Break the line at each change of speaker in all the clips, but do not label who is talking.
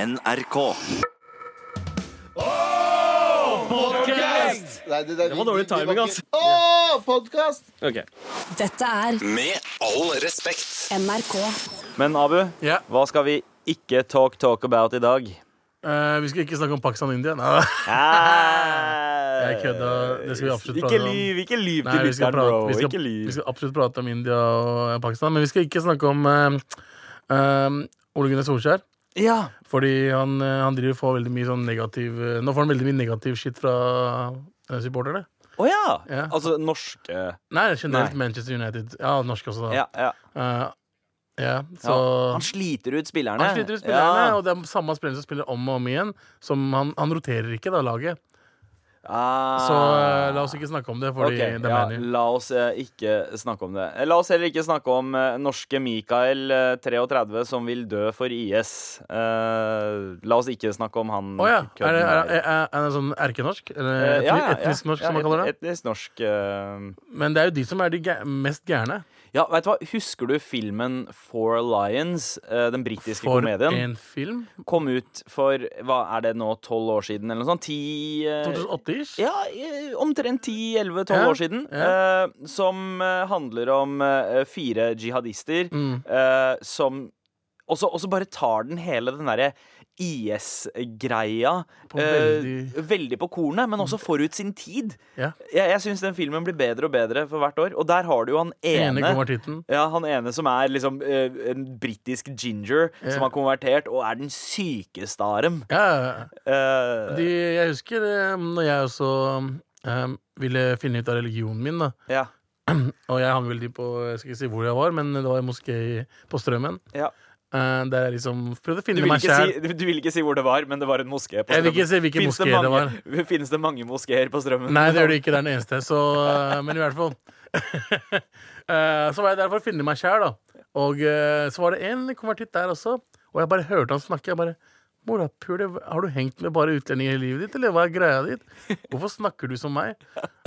NRK.
Nei, det, det,
Det var dårlig timing, altså.
Åh, podkast!
Ok.
Dette er
Med all respekt.
NRK.
Men Abu,
Ja.
hva skal vi ikke talk talk about i dag?
Eh, vi skal ikke snakke om Pakistan og India. Nei.
Jeg Ah!
Jeg kødda. Det skal vi absolutt
Ikke
prate om.
lyv, ikke lyv
Nei,
til
vi, skal
lytteren,
prate,
bro.
vi, skal,
Ikke lyv.
vi skal absolutt prate om India og Pakistan, men vi skal ikke snakke om eh, eh, Ole Gunnar Solskjær.
Ja.
Fordi han, eh, han driver og får veldig mye sånn negativ eh, Nå får han veldig mye negativ shit fra eh, supportere.
Å ja.
Ja.
Altså norske
Nei, generelt Manchester United. Ja, norske også, da.
Ja, ja.
Eh, ja, så
Ja. Han sliter ut spillerne.
Han sliter ut spillerne,
Ja.
og det er samme spillere som spiller om og om igjen. Som han, han roterer ikke, da, laget.
Ah.
Så eh, la oss ikke snakke om det, fordi
Ok,
det er
ja,
ManU.
La oss eh, ikke snakke om det. Eh, La oss heller ikke snakke om eh, norske Mikael, eh, 33, som vil dø for IS. Eh, la oss ikke snakke om han
Å ja.
kødden
Er det, er,
der.
er, er det sånn erkenorsk? Eller
Eh,
etni-
ja, ja, ja.
etnisk norsk,
Ja,
som man kaller det?
et- Etnisk norsk. eh,
Men det er jo de som er de gæ- mest gærne.
Ja, vet du hva? Husker du filmen Four Lions? eh, Den britiske
For
komedien. Eh,
en film.
Kom ut for hva er det nå, tolv år siden, eller noe sånt? Ti eh,
2008-ish.
Ja, eh, omtrent 10-11-12
Ja,
år siden. eh, som eh, handler om eh, fire jihadister
Mm.
eh, som og så, og så bare tar den hele den derre IS-greia
På
eh,
veldig- Mm.
veldig på kornet, men også forut sin tid.
Ja.
Jeg, jeg syns den filmen blir bedre og bedre for hvert år. Og der har du jo han
Ene
ene.
konvertitten.
ja, Han ene som er liksom eh, en britisk ginger
Ja.
som har konvertert og er den sykeste av dem.
Ja, ja, ja.
Eh,
de, jeg husker eh, når jeg også eh, ville finne ut av religionen min, da.
ja,
Og jeg hang veldig på Jeg skal ikke si hvor jeg var, men det var en moské i- på Strømmen.
ja.
eh, der jeg liksom
Du
prøvde å finne
vil,
meg
ikke
sjæl.
si, du- du vil ikke si hvor det var, men det var en moské. på
Jeg vil
Strømmen.
ikke si hvilken
Finnes
moské det
mange, Finnes det mange moskeer på Strømmen?
Nei, det gjør det ikke. Det er den eneste. Så, eh, men i hvert fall. Eh, så var jeg der for å finne meg sjæl, da. Og eh, så var det en konvertitt der også. Og jeg bare hørte han snakke. Jeg bare Morapule, har du hengt med bare utlendinger i livet ditt, eller hva er greia ditt? Hvorfor snakker du som meg?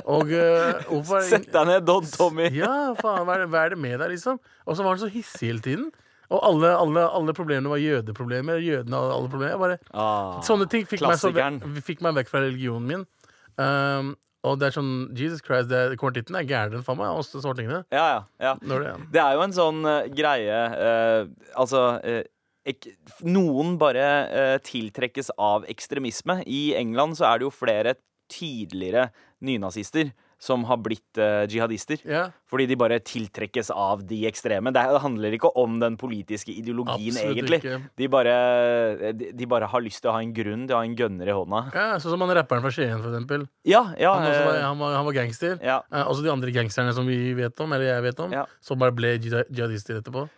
Og eh, hvorfor
Sett deg ned, Don Tommy.
Ja, faen, hva er, det, hva er det med deg, liksom? Og så var han så hissig hele tiden. Og alle, alle, alle problemene var jødeproblemer. Jødene hadde alle problemer. Jeg bare,
Ah,
Sånne ting fikk meg, så vekk,
klassikeren.
fikk meg vekk fra religionen min. Um, og det er sånn Jesus Christ, det er- konvertitten er gærnere enn faen meg. Oss svartingene.
Ja, ja, ja.
Når det,
Det er jo en sånn eh, greie eh, Altså eh, ek, Noen bare eh, tiltrekkes av ekstremisme. I England så er det jo flere tidligere nynazister som har blitt eh, jihadister.
ja,
Fordi de bare tiltrekkes av de ekstreme. Det handler ikke om den politiske ideologien,
Absolutt
egentlig.
ikke.
De bare, eh, de, de bare har lyst til å ha en grunn, de har en gønner i hånda.
ja, sånn som han rapperen fra Skien, for eksempel.
Ja, ja.
Han, også var,
eh,
han, var, han var gangster.
ja.
Eh, også de andre gangsterne som vi vet om, eller jeg vet om,
Ja.
som bare ble jihad- jihadister etterpå.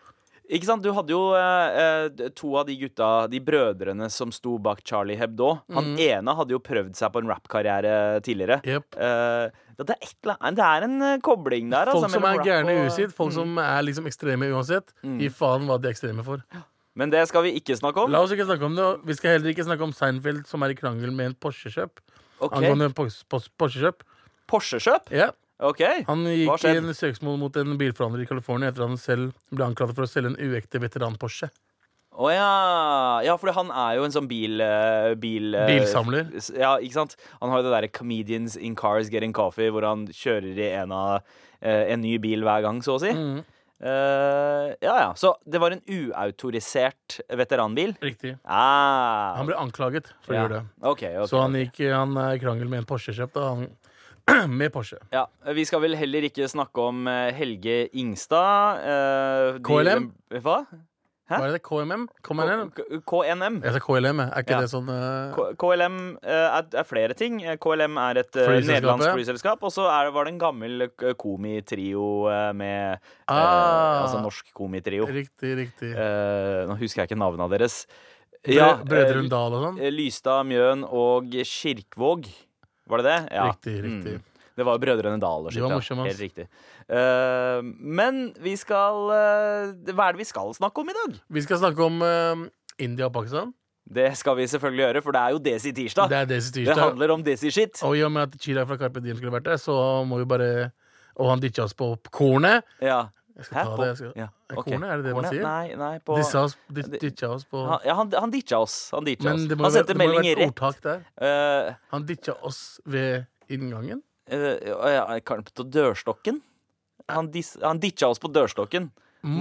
Ikke sant? Du hadde jo eh, eh, to av de gutta, de brødrene som sto bak Charlie Hebdo. Han
Mm.
ene hadde jo prøvd seg på en rappkarriere tidligere.
Jep.
Eh, det, er et, eller annet- det er en eh, kobling der, altså.
Folk som
mellom
er
rap
gærne i
og- Mm.
huet sitt, folk som er liksom ekstreme uansett. Gi faen hva de er ekstreme for.
Men det skal vi ikke snakke om.
La oss ikke snakke om det. og Vi skal heller ikke snakke om Seinfeld, som er i krangel med en Porsche-kjøp.
Ok,
Angående pos- pos- Porsche-kjøp.
Porsche-kjøp?
Ja.
Ok.
Han
Hva
gikk i
skjedde?
en søksmål mot en bilforhandler i California etter at han selv ble anklaget for å selge en uekte veteran-Porsche.
Å ja. ja, for han er jo en sånn bil... eh, bil eh,
Bilsamler.
s- Ja, ikke sant? Han har jo det derre Comedians in Cars Getting Coffee, hvor han kjører i en, av, eh, en ny bil hver gang, så å si.
Mm.
Eh, ja, ja. Så det var en uautorisert veteranbil?
Riktig.
Ah,
Han ble anklaget for å
ja.
gjøre det.
Ok, ok.
Så han gikk han er i krangel med en Porsche-kjøp. da, han- Med Porsche.
ja. Vi skal vel heller ikke snakke om eh, Helge Ingstad. eh, de-
KLM?
hva? Hæ?
Hva er det? KMM? KMNM?
K- KNM?
Jeg sa KLM, jeg. er ikke
Ja.
det sånn eh,
K- KLM eh, er, er flere ting. Eh, KLM er et eh,
Flyselskapet.
nederlandsk flyselskap. Og så er, var det en gammel eh, komitrio eh, med eh,
Ah.
Altså norsk komitrio.
Riktig, riktig.
Eh, nå husker jeg ikke navnene deres.
Ja,
eh,
Brødrene Dal og sånn?
eh, Lystad, Mjøen og Kirkvåg. Var det det? Mm.
Riktig, riktig.
Det var Brødrene Dal og
De
skitt,
var
ja.
morsomme, ass.
Helt riktig. Eh, men vi skal eh, Hva er det vi skal snakke om i dag?
Vi skal snakke om eh, India og Pakistan.
Det skal vi selvfølgelig gjøre, for det er jo Desi tirsdag.
Det er Daisy
Det
Tirsdag.
handler om Desi-shit.
Og i og med at Chirag fra Carpe Diem skulle vært der, så må vi bare Og han ditcha oss på kornet.
Ja.
Jeg skal
Hæ?
ta
På-
det. Jeg skal.
ja,
Er
ok.
Kornet, er det det man
Kornet?
sier?
Nei, nei på,
Dissa oss, di-
Det-
ditcha oss på
han, ja, han, han ditcha oss. Han, ditcha
Men
oss.
det må
han
jo være,
sendte
det må jo være
meldinger
et
rett.
ordtak der.
eh,
Han ditcha oss ved inngangen.
eh, å, ja, kan- På dørstokken? Han, dis, han ditcha oss på dørstokken.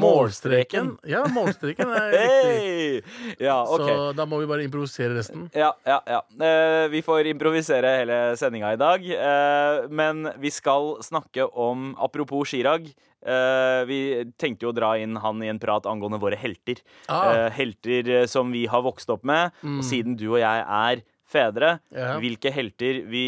Målstreken. Ja, målstreken er riktig.
Hei! Ja, OK.
Så da må vi bare improvisere resten.
Ja, ja, ja. Eh, vi får improvisere hele sendinga i dag. eh, men vi skal snakke om Apropos Chirag. eh, vi tenkte jo å dra inn han i en prat angående våre helter.
Ah. Mm.
Eh, helter eh, som vi har vokst opp med. Og siden du og jeg er fedre,
Ja.
hvilke helter vi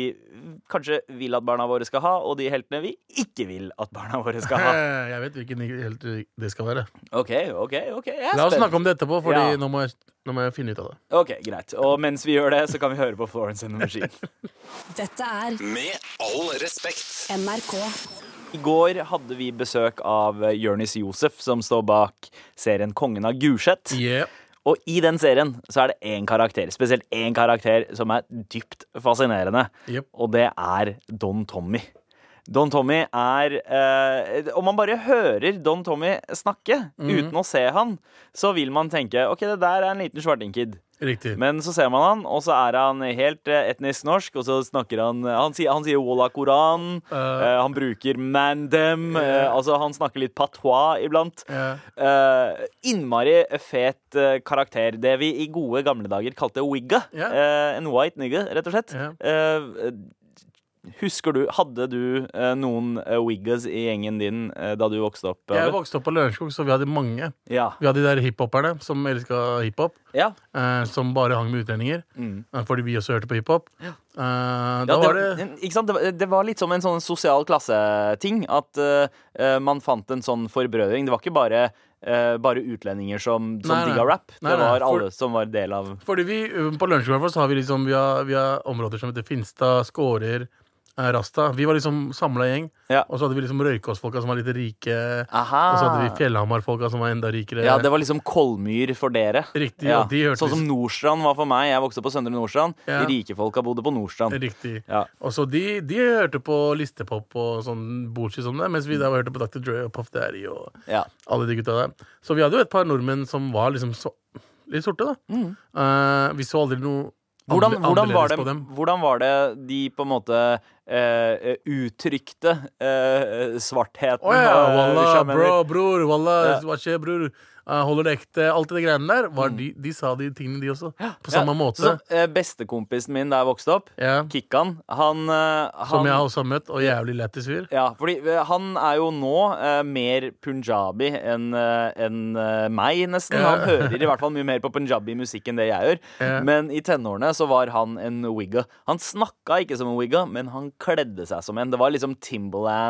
kanskje vil at barna våre skal ha, og de heltene vi ikke vil at barna våre skal ha.
Eh, Jeg vet hvilken helt det skal være.
OK, OK, OK. jeg er
La oss
spent.
snakke om det etterpå, Fordi
Ja.
nå, må jeg, nå må jeg finne ut av det.
OK, greit. Og mens vi gjør det, så kan vi høre på Florence and the Machine.
Dette er
Med all respekt.
NRK.
I går hadde vi besøk av eh, Jørnis Josef, som står bak serien Kongen av Gulset.
Yeah.
Og i den serien så er det én karakter, spesielt én karakter, som er dypt fascinerende.
Jep.
Og det er Don Tommy. Don Tommy er eh, Om man bare hører Don Tommy snakke uten å se han, så vil man tenke OK, det der er en liten svartingkid.
Riktig.
Men så ser man han, og så er han helt eh, etnisk norsk, og så snakker han Han sier, han sier Walla Koran, eh, han bruker Mandem, eh, altså han snakker litt patois iblant.
Ja.
Eh, innmari fet eh, karakter. Det vi i gode gamle dager kalte wigga.
Ja.
Eh, en white nigga, rett og slett.
Ja.
Eh, husker du, Hadde du eh, noen eh, wiggas i gjengen din eh, da du vokste opp?
Jeg
eller?
vokste opp på Lørenskog, så vi hadde mange.
ja.
Vi hadde de der hiphoperne som elska hiphop,
ja.
eh, som bare hang med utlendinger. eh, Fordi vi også hørte på hiphop. Eh, da
Mm. Ja,
var det
det, ikke sant? Det, var, det var litt som en sånn sosial klasseting. At eh, eh, man fant en sånn forbrødring. Det var ikke bare, eh, bare utlendinger som, som
Nei, nei.
digga rap.
Nei,
det
nei,
var
for-
alle som var del av
Fordi vi ø, på Lørenskog i hvert fall, så har vi liksom vi har, vi har områder som heter Finstad, Skårer, eh, Rasta. Vi var liksom samla gjeng.
Ja.
Og så hadde vi liksom Røykås-folka som var litt rike.
Aha.
Og så hadde vi Fjellhamar-folka som var enda rikere.
Ja, det var liksom Kolmyr for dere.
Riktig,
ja.
og de hørte
Sånn som Nordstrand var for meg. Jeg vokste opp på Søndre Nordstrand.
Ja.
De rike folka bodde på Nordstrand.
Riktig.
Ja.
Og så de, de hørte på listepop og sånn bullshit som det, mens vi da hørte på Dr. Dre og Puff Daddy og
Ja.
alle de gutta der. Så vi hadde jo et par nordmenn som var liksom så, litt sorte, da. Eh, vi så aldri noe
Mm. Hvordan,
andre-
hvordan, var
annerledes
det,
på dem.
hvordan var det de på en måte eh, uttrykte eh, svartheten?
Å ja,
og- eh, hvis
walla,
jeg mener-
bro, bror, walla,
Ja. Mm.
hva skjer, bror? Eh, holder det ekte? Alt det greiene der. Var de, de sa de tingene, de også. På samme
Ja,
måte.
Så, eh, bestekompisen min da jeg vokste opp,
Ja.
Kikkan, han, eh,
Som
han
jeg også har møtt, og jævlig lættis fyr.
ja, fordi eh, Han er jo nå eh, mer punjabi enn eh, enn, eh, meg, nesten. Han hører i hvert fall mye mer på punjabi-musikk enn det jeg gjør. Men i tenårene så var han en wigga. Han snakka ikke som en wigga, men han kledde seg som en. Det var liksom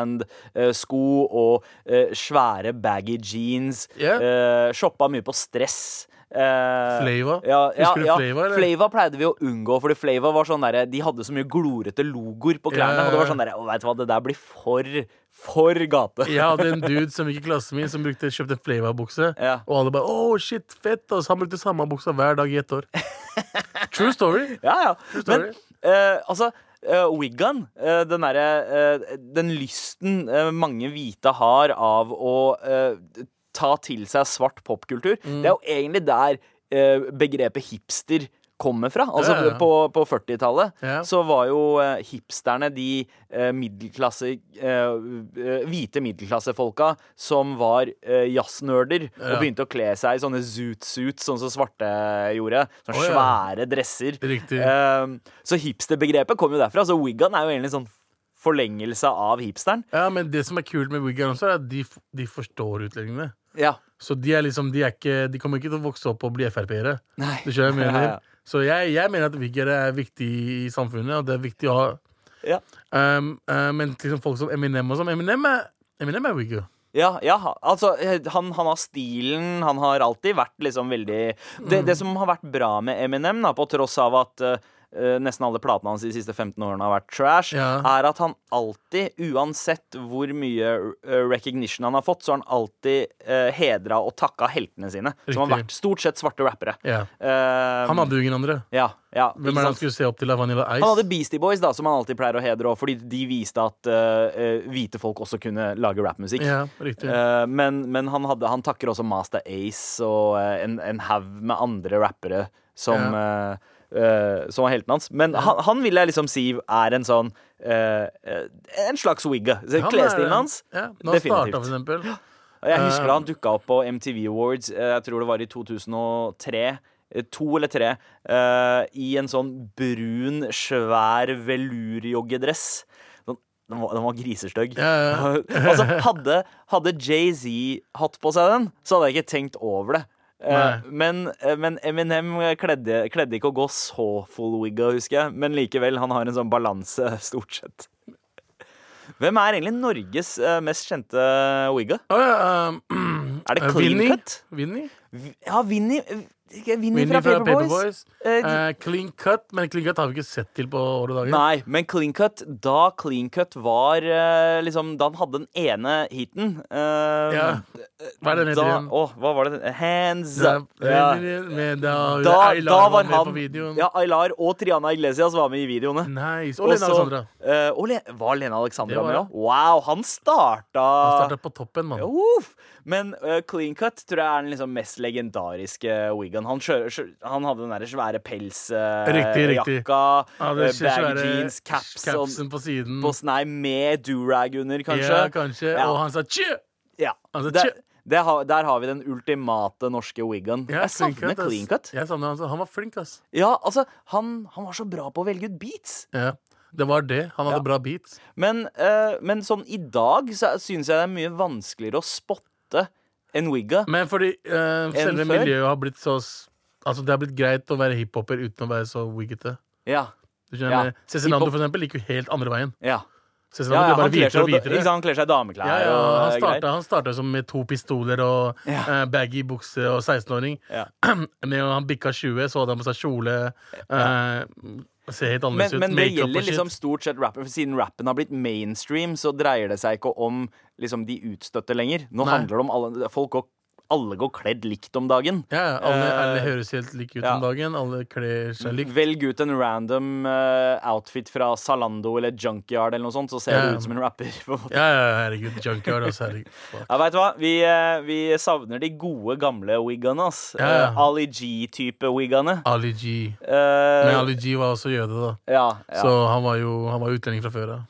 Timberland-sko og eh, svære baggy jeans.
Ja.
Eh, shoppa mye på stress. Eh,
Flava?
Ja, ja,
Husker du
ja.
Flava, eller?
Flava pleide vi å unngå, fordi Flava var sånn der, de hadde så mye glorete logoer på
Ja,
klærne.
ja,
Og det var
ja.
sånn der, å, vet du hva, det der blir for, for gate.
Jeg hadde en dude som gikk i klassen min, som brukte, kjøpte Flava-bukse.
Ja.
Og alle bare 'Å, shit, fett', ass. Han brukte samme buksa hver dag i ett år. True story.
Ja, ja.
Forstår
Men eh, altså eh, Wiggan, eh, den derre eh, Den lysten eh, mange hvite har av å eh, ta til seg svart popkultur,
Mm.
det er jo egentlig der eh, begrepet hipster kommer fra. Altså
Ja, ja, ja.
på, på 40-tallet
Ja.
så var jo eh, hipsterne de eh, middelklasse eh, eh, Hvite middelklassefolka som var eh, jazznerder
Ja.
og begynte å kle seg i sånne zoot-suits, sånn som svarte gjorde. Sånne
Å,
svære
ja.
svære dresser.
Riktig.
Ehm, så hipsterbegrepet kom jo derfra. Så Wiggan er jo egentlig en sånn forlengelse av hipsteren.
Ja, men det som er kult med Wiggan også, er at de, f- de forstår utlendingene.
Ja.
Så de er liksom, de er ikke De kommer ikke til å vokse opp og bli Frp-ere.
Nei.
Du skjønner hva jeg
Ja, ja.
mener? Så jeg, jeg mener at wiggere er viktig i samfunnet, og det er viktig å ha
Ja,
um, uh, Men liksom folk som Eminem og sånn Eminem er, Eminem er wigger.
ja, ja altså eh, han, han har stilen, han har alltid vært liksom veldig Det, det som har vært bra med Eminem, da, på tross av at eh, eh, nesten alle platene hans de siste 15 årene har vært trash,
Ja.
er at han alltid, uansett hvor mye eh, recognition han har fått, så har han alltid uh, hedra og takka heltene sine, som har
Riktig.
vært stort sett svarte rappere.
Ja.
Eh,
Han hadde jo ingen andre.
ja, ja, ikke
Hvem er det han
sant?
skulle se opp til av Vanilla Ice?
Han hadde Beastie Boys, da, som han alltid pleier å hedre også, fordi de viste at eh, eh, hvite folk også kunne lage rappmusikk.
Ja, riktig.
Eh, men men han, hadde, han takker også Master Ace og eh, en, en haug med andre rappere som, eh, eh, som var helten hans. Men han, han vil jeg liksom si er en sånn eh, eh, En slags wigga. Så
Han er-
Klesstilen hans.
Ja, når han starta, for
definitivt.
eksempel.
Og Jeg husker da han
Eh.
dukka opp på MTV Awards, eh, jeg tror det var i 2003. eh, To eller tre. eh, I en sånn brun, svær velurjoggedress. Sånn- Den var, den var grisestygg.
Ja,
altså, hadde, hadde Jay-Z hatt på seg den, så hadde jeg ikke tenkt over det. Eh, Men, eh, men Eminem kledde, kledde ikke å gå så full-wigga, husker jeg. Men likevel, han har en sånn balanse, stort sett. Hvem er egentlig Norges eh, mest kjente eh, wigga?
Å ja, um,
Er det
eh,
clean
Vinny?
cut?
Vinny?
Ja, Vinni Vinni
Vinny
fra Paperboys. Eh,
Eh, clean cut, men clean cut har vi ikke sett til på året dager.
Nei, men Clean Cut, da Clean Cut var eh, liksom Da han hadde den ene hiten eh,
Ja. Hva er det den heter
da,
igjen?
Å, hva var det? den- Hands
Det
up.
er-
Ja.
men da,
Da,
Aylar
da var
med
han
på videoen.
Ja, Aylar og Triana Iglesias var med i videoene.
Nice. Og Lena
så-
Alexandra.
eh, og Le var Lena Alexandra
Det var
med
det.
òg? Wow, han starta
Starta på toppen, mann.
Uff. Men eh, Clean Cut tror jeg er den liksom mest legendariske Wigan. Han, kjører, kjø- han hadde den der svære
Riktig, riktig.
pelsjakka,
Ja, det
eh, baggy
ser svære
jeans, caps og
capsen på siden.
på snei med durag under, kanskje.
Ja, kanskje.
Ja.
Og han sa tjø!
Ja.
Altså,
der,
tjø-
det har, der har vi den ultimate norske Wigan.
Ja,
jeg savner
ass.
Clean Cut. Ja.
Jeg savner han, så han var flink, ass.
altså, han, han var så bra på å velge ut beats.
Ja. Det var det. Han hadde
Ja.
bra beats.
Men, eh, men sånn i dag så syns jeg det er mye vanskeligere å spotte en Wigga.
Men fordi eh, selve
før?
miljøet har blitt så s- Altså, det har blitt greit å være hiphoper uten å være så wiggete.
Ja,
Du
Ja.
skjønner? Cezinando,
Hiphop-
for eksempel, gikk jo helt andre veien.
ja.
Cezinando
Ja, ja,
ble
han, kler
bare hvitere
seg,
og
ikke sant,
hvitere.
han kler seg i dameklær
Ja, ja,
og
han
eh,
starta, han starta som med to pistoler og
Ja.
eh, baggy bukse og 16-åring.
Ja.
Når han bikka 20, så hadde han på seg kjole. eh, ser helt annerledes
Men, men det
ut. Makeup og
gjelder
shit.
liksom stort sett rappen. For siden rappen har blitt mainstream, så dreier det seg ikke om liksom, de utstøtte lenger. Nå
Nei.
handler det om alle Folk går, alle går kledd likt om dagen.
Ja, ja, alle,
Eh,
alle høres helt like ut
ja. Mm.
om dagen. Alle kler seg likt.
Velg ut en random eh, outfit fra Zalando eller Junkyard eller noe sånt, så ser
Ja.
du ut som en rapper. På en måte.
Ja, ja, herregud. Junkyard, altså. Herregud. Fuck.
Ja, vet du hva? Vi, eh, vi savner de gode, gamle wiggene, ass.
Ja.
Eh, Ali G-type wiggene.
Ali G.
Eh,
Men Ali G var også jøde, da.
ja, ja,
Så han var jo han var utlending fra før av.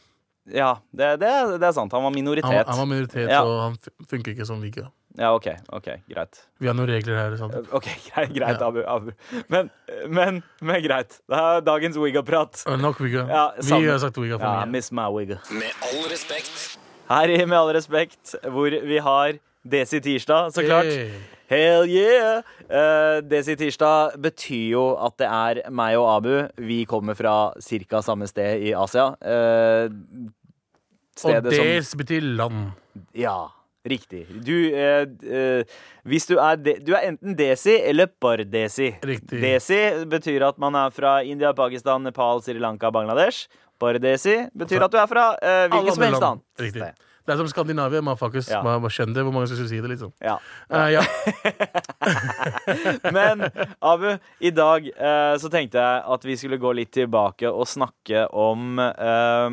ja det, det, er- det er sant. Han var minoritet.
Han, var- han var minoritet,
Ja.
og han fun- funker ikke som like.
Ja, OK. ok, Greit.
Vi har noen regler her. Sant?
OK, greit, greit Abu. Abu. Men, men, men greit. Det er dagens Wigga-prat.
Eh, Nok Wigga.
Ja,
Vi
samme.
har sagt Wigga for
Ja,
mye.
miss my Wigga.
Med all respekt.
Her i Med all respekt, hvor vi har Desi Tirsdag, så klart.
Hey.
Hell yeah! Eh, Desi Tirsdag betyr jo at det er meg og Abu. Vi kommer fra ca. samme sted i Asia. Eh,
Og
stedet som
Des betyr land.
Ja, riktig. Du eh, eh, Hvis du er de, Du er enten desi eller bardesi.
Riktig.
Desi betyr at man er fra India, Pakistan, Nepal, Sri Lanka, Bangladesh. Bardesi betyr at du er fra eh,
Altså Alle
hvilket som helst
andre land.
annet
Riktig.
sted.
Det er som Skandinavia. Man faktisk
Ja.
man, man skjønner det. Hvor mange som skulle si det, liksom.
Ja.
Eh, ja.
Men Abu, i dag eh, så tenkte jeg at vi skulle gå litt tilbake og snakke om eh,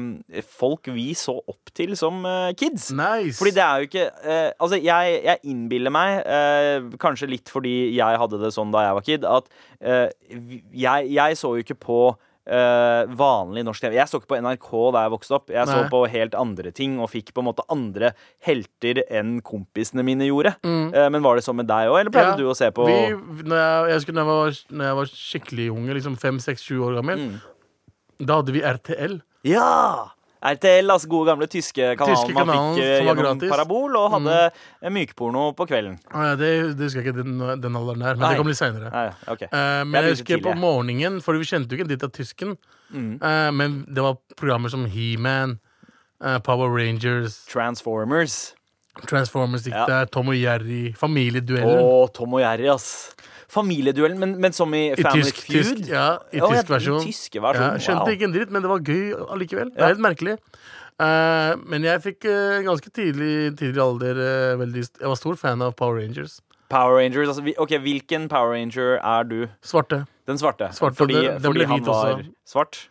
folk vi så opp til som eh, kids.
Nice.
Fordi det er jo ikke eh, Altså, jeg, jeg innbiller meg, eh, kanskje litt fordi jeg hadde det sånn da jeg var kid, at eh, vi- jeg, jeg så jo ikke på eh, vanlig norsk TV. Jeg så ikke på NRK da jeg vokste opp. Jeg så
Nei.
på helt andre ting og fikk på en måte andre helter enn kompisene mine gjorde. Eh, men var det sånn med deg òg, eller pleide
Mm. Ja.
du å se på
Vi, når jeg, jeg husker når jeg var, når jeg var skikkelig unge, liksom 5-6-7 år gammel,
Mm.
da hadde vi RTL.
Ja! RTL, altså gode gamle tyske kanalen
Tyske
man
kanalen
fikk eh,
som var
gjennom
gratis. Mm.
parabol, og hadde eh, mykporno på kvelden.
Ah, ja, det, det husker jeg ikke den, den alderen der, men
Nei.
det kom litt seinere.
Nei, ok.
men
Jeg
jeg,
begynte
husker
tidlig, Mm.
på
jeg.
morgenen, for vi kjente jo ikke dit av tysken. Eh, men det var programmer som He-Man, eh, Power Rangers,
Transformers.
Transformers gikk
Ja.
der, Tom og Jerry, Familieduellen.
Å, Tom og Jerry, ass. Familieduellen, men, men som i Family
tysk,
Feud?
tysk, ja, i
Å, ja,
tysk
den
versjon.
tyske versjonen,
Ja, skjønte
wow.
ikke en dritt, men det var gøy allikevel. Det
Ja.
er helt merkelig. Eh, men jeg fikk eh, ganske tidlig tidligere alder eh, veldig, st- Jeg var stor fan av Power Rangers.
Power Rangers, altså, vi- ok, Hvilken Power Ranger er du?
Svarte.
Den svarte?
Svarte,
fordi
den- den
fordi
ble
han
hvit
var
også.
svart?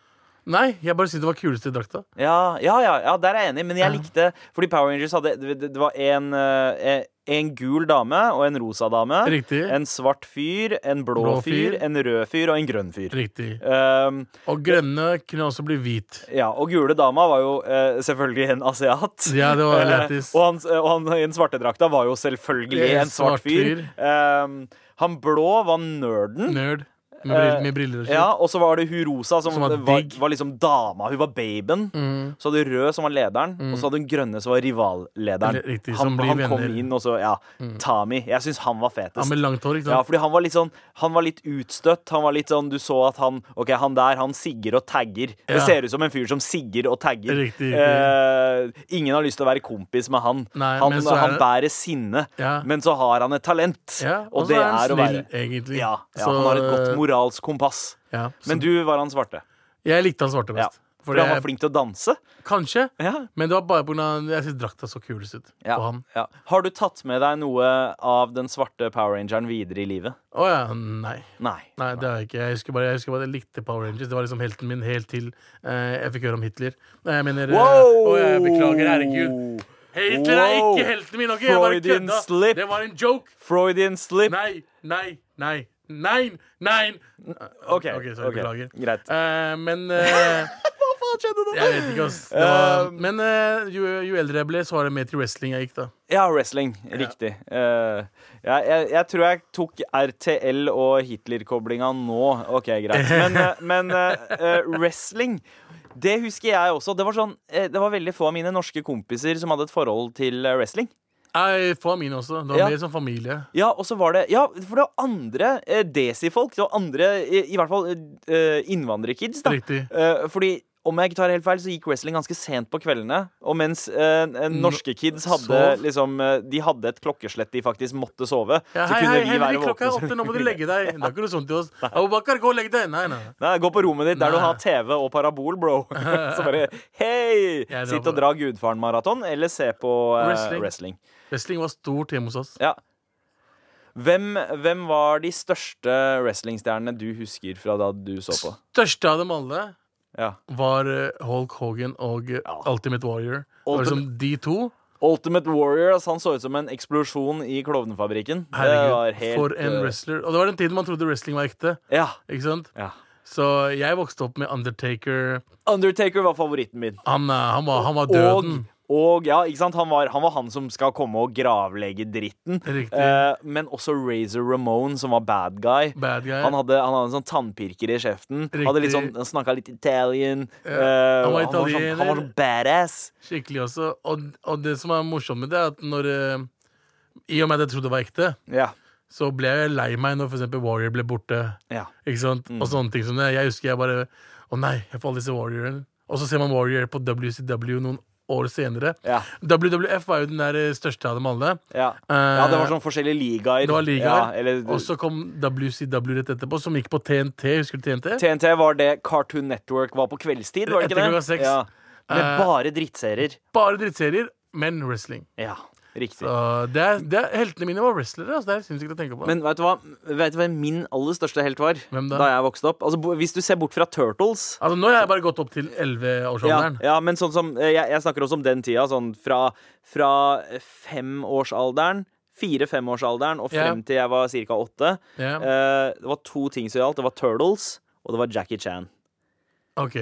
Nei, jeg bare synes det var kuleste drakta.
Ja, ja, ja, ja, der er jeg enig, men jeg likte Fordi Power Rangers hadde Det, det det var en, eh, en gul dame og en rosa dame.
Riktig.
En svart fyr, en blå,
Blå
fyr,
fyr.
en rød fyr og en grønn fyr.
Riktig.
Um,
Og grønne kunne også bli hvit.
ja, Og gule dama var jo eh, selvfølgelig en asiat.
Ja, det var
Eh,
lættis.
og, han, og han i den svarte drakta var jo selvfølgelig
Eh,
en svart
svart
fyr. Um, han blå var nerden.
Nerd. Med briller, med briller og shit.
Eh, Ja, Og så var det hun rosa, som,
Som var
var,
digg.
var liksom dama. Hun var baben.
Mm.
Så hadde hun rød, som var lederen, og så hadde hun grønne, som var rivallederen.
Eller riktig,
han
som blir
han kom
venner. Mm.
inn, og så Ja. Tami. Jeg syns han var
Ja,
fetest.
med langt hår, ikke
Ja,
sant?
fordi han var litt sånn Han var litt utstøtt. Han var litt sånn Du så at han Ok, han der, han sigger og tagger. Det
Ja.
ser ut som en fyr som sigger og tagger.
Riktig,
Eh, ingen har lyst til å være kompis med han.
Nei,
han,
men så er
han
det-
bærer sinne,
Ja.
men så har han et talent.
Ja,
og det
han
er å
snill,
være
egentlig.
ja, ja,
Så,
han har et godt moralsk kompass.
ja, så,
Men du var han svarte.
jeg likte han svarte
Ja.
best.
Fordi han var flink til å danse.
Kanskje,
Ja.
men det var bare pga. jeg synes drakta så kulest ut
Ja,
på han.
ja. Har du tatt med deg noe av den svarte Power Rangeren videre i livet?
Å ja, nei.
Nei.
Nei, det er jeg ikke. Jeg husker, bare, jeg husker bare jeg likte Power Rangers. Det var liksom helten min helt til eh, jeg fikk høre om Hitler. Nei, jeg mener eh, Å, jeg beklager, herregud. Hitler er
Wow.
ikke helten min, OK? Jeg bare
Freudian
kødda.
slip.
Det var en joke.
Freudian slip.
Nei, nei, nei. Nei, nei.
OK,
ok, sorry,
ok.
beklager.
greit.
Eh, men eh,
Hva faen skjedde nå?
Jeg vet ikke, ass. Det var,
Um,
men eh, jo, jo eldre jeg ble, så var det mer til wrestling jeg gikk, da.
Ja, wrestling. Riktig. Eh, jeg, jeg, jeg tror jeg tok RTL og Hitler-koblinga nå. OK, greit. Men, eh, men eh, eh, wrestling det husker jeg også. Det var, sånn, eh, det var veldig få av mine norske kompiser som hadde et forhold til eh, wrestling.
Nei, for mine også. Det var
Ja.
mer som familie.
Ja, og så var det Ja, for det var andre eh, desi-folk. Det var andre, i, i hvert fall eh, innvandrerkids, da.
Riktig.
Eh, fordi om jeg ikke tar helt feil, så gikk wrestling ganske sent på kveldene. Og mens eh, n- norske kids hadde
sov.
liksom eh, De hadde et klokkeslett de faktisk måtte sove.
Ja,
så
hei,
kunne
hei,
vi
Henrik,
være
klokka er
våkne.
åtte, nå må du legge deg. Det er ikke noe sånt til oss. Abubakar, gå og legg deg. Nei, nei. nei.
Nei, Gå på rommet ditt der du
Nei.
har TV og parabol, bro. så bare hei!
Jeg drar
Sitt
på
og dra Gudfaren-maraton, eller se på eh,
Wrestling.
wrestling.
Wrestling var stort hjemme hos oss.
Ja. Hvem, hvem var de største wrestlingstjernene du husker fra da du så på?
Største av dem alle
Ja.
var eh, Hulk Hogan og eh,
Ja.
Ultimate Warrior. Det var liksom de to.
Ultimate Warrior. Altså, han så ut som en eksplosjon i Klovnefabrikken. Det var
Herregud,
helt,
for en
eh,
wrestler. Og det var den tiden man trodde wrestling var ekte.
Ja.
Ikke sant?
ja.
Så jeg vokste opp med Undertaker.
Undertaker var favoritten min.
Han, eh, han, var, han var
Og,
døden.
og ja, ikke sant? Han, var, han var han som skal komme og gravlegge dritten.
Riktig.
Eh, men også Razor Ramone, som var bad guy.
Bad guy.
Han hadde, han hadde en sånn tannpirker i kjeften. Hadde litt sånn,
Riktig.
Snakka litt Italian. Eh, sånn,
han var
han var
italiener.
sånn badass.
Skikkelig også. Og, og det som er morsomt med det, er at når eh, I og med at jeg trodde det var ekte,
Ja.
så ble jeg lei meg når for eksempel Warrior ble borte.
ja.
Ikke sant?
Mm.
Og sånne ting som det. Jeg husker jeg bare Å nei, jeg får aldri se Warrior. Og så ser man Warrior på WCW noen år senere.
Ja.
WWF var jo den der eh, største av dem alle. Eh,
Ja. ja, det var sånn forskjellige ligaer.
Det var
Ja,
ligaer.
eller,
og så kom WCW rett etterpå, som gikk på TNT. Husker du TNT?
TNT var det Cartoon Network var på kveldstid, var det
Etter
ikke
klokka
det?
seks.
Ja. Med
Eh.
bare drittserier.
Bare drittserier, men wrestling.
Ja, riktig.
Så det er, det er, heltene mine var wrestlere. Altså, det er sinnssykt å tenke på.
Men vet du hva Vet du hvem min aller største helt var
Hvem da?
jeg vokste opp? Altså, bo- hvis du ser bort fra Turtles
Altså, nå har jeg bare gått opp til
ja,
11-årsalderen.
ja, men sånn som eh, jeg, jeg snakker også om den tida. Sånn fra, fra femårsalderen, fire-femårsalderen og frem
Ja.
til jeg var ca. åtte.
Ja.
Eh, det var to ting som gjaldt. Det var Turtles, og det var Jackie Chan.
Ok.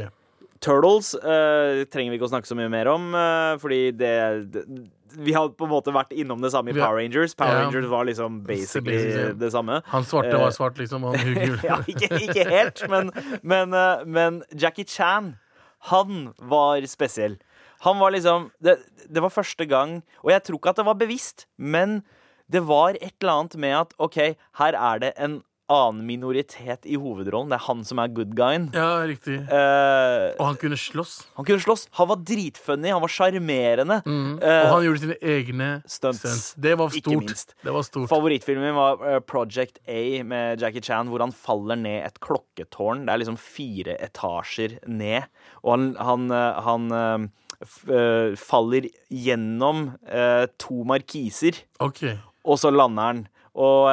Turtles eh, trenger vi ikke å snakke så mye mer om, eh, fordi det, det Vi har på en måte vært innom det samme i
Vi har-
Power Rangers. Power
Ja.
Rangers var liksom basically
Basically.
det samme.
Han svarte
Eh,
var svart, liksom. og Han hugger.
ja, ikke, ikke helt, men, men, eh, men Jackie Chan, han var spesiell. Han var liksom det, det var første gang Og jeg tror ikke at det var bevisst, men det var et eller annet med at OK, her er det en annen minoritet i hovedrollen. Det er han som er good guyen.
Ja, riktig.
Eh,
Og han kunne slåss.
han kunne slåss. Han var dritfunny. Han var sjarmerende. Eh,
Mm. Og han gjorde sine egne
Stunts.
stunts. Det var
Ikke minst.
stort. Det var stort.
Favorittfilmen min var eh, Project A med Jackie Chan, hvor han faller ned et klokketårn. Det er liksom fire etasjer ned, og han, han, eh, han eh, f- eh, faller gjennom eh, to markiser,
Ok.
og så lander han. Og eh,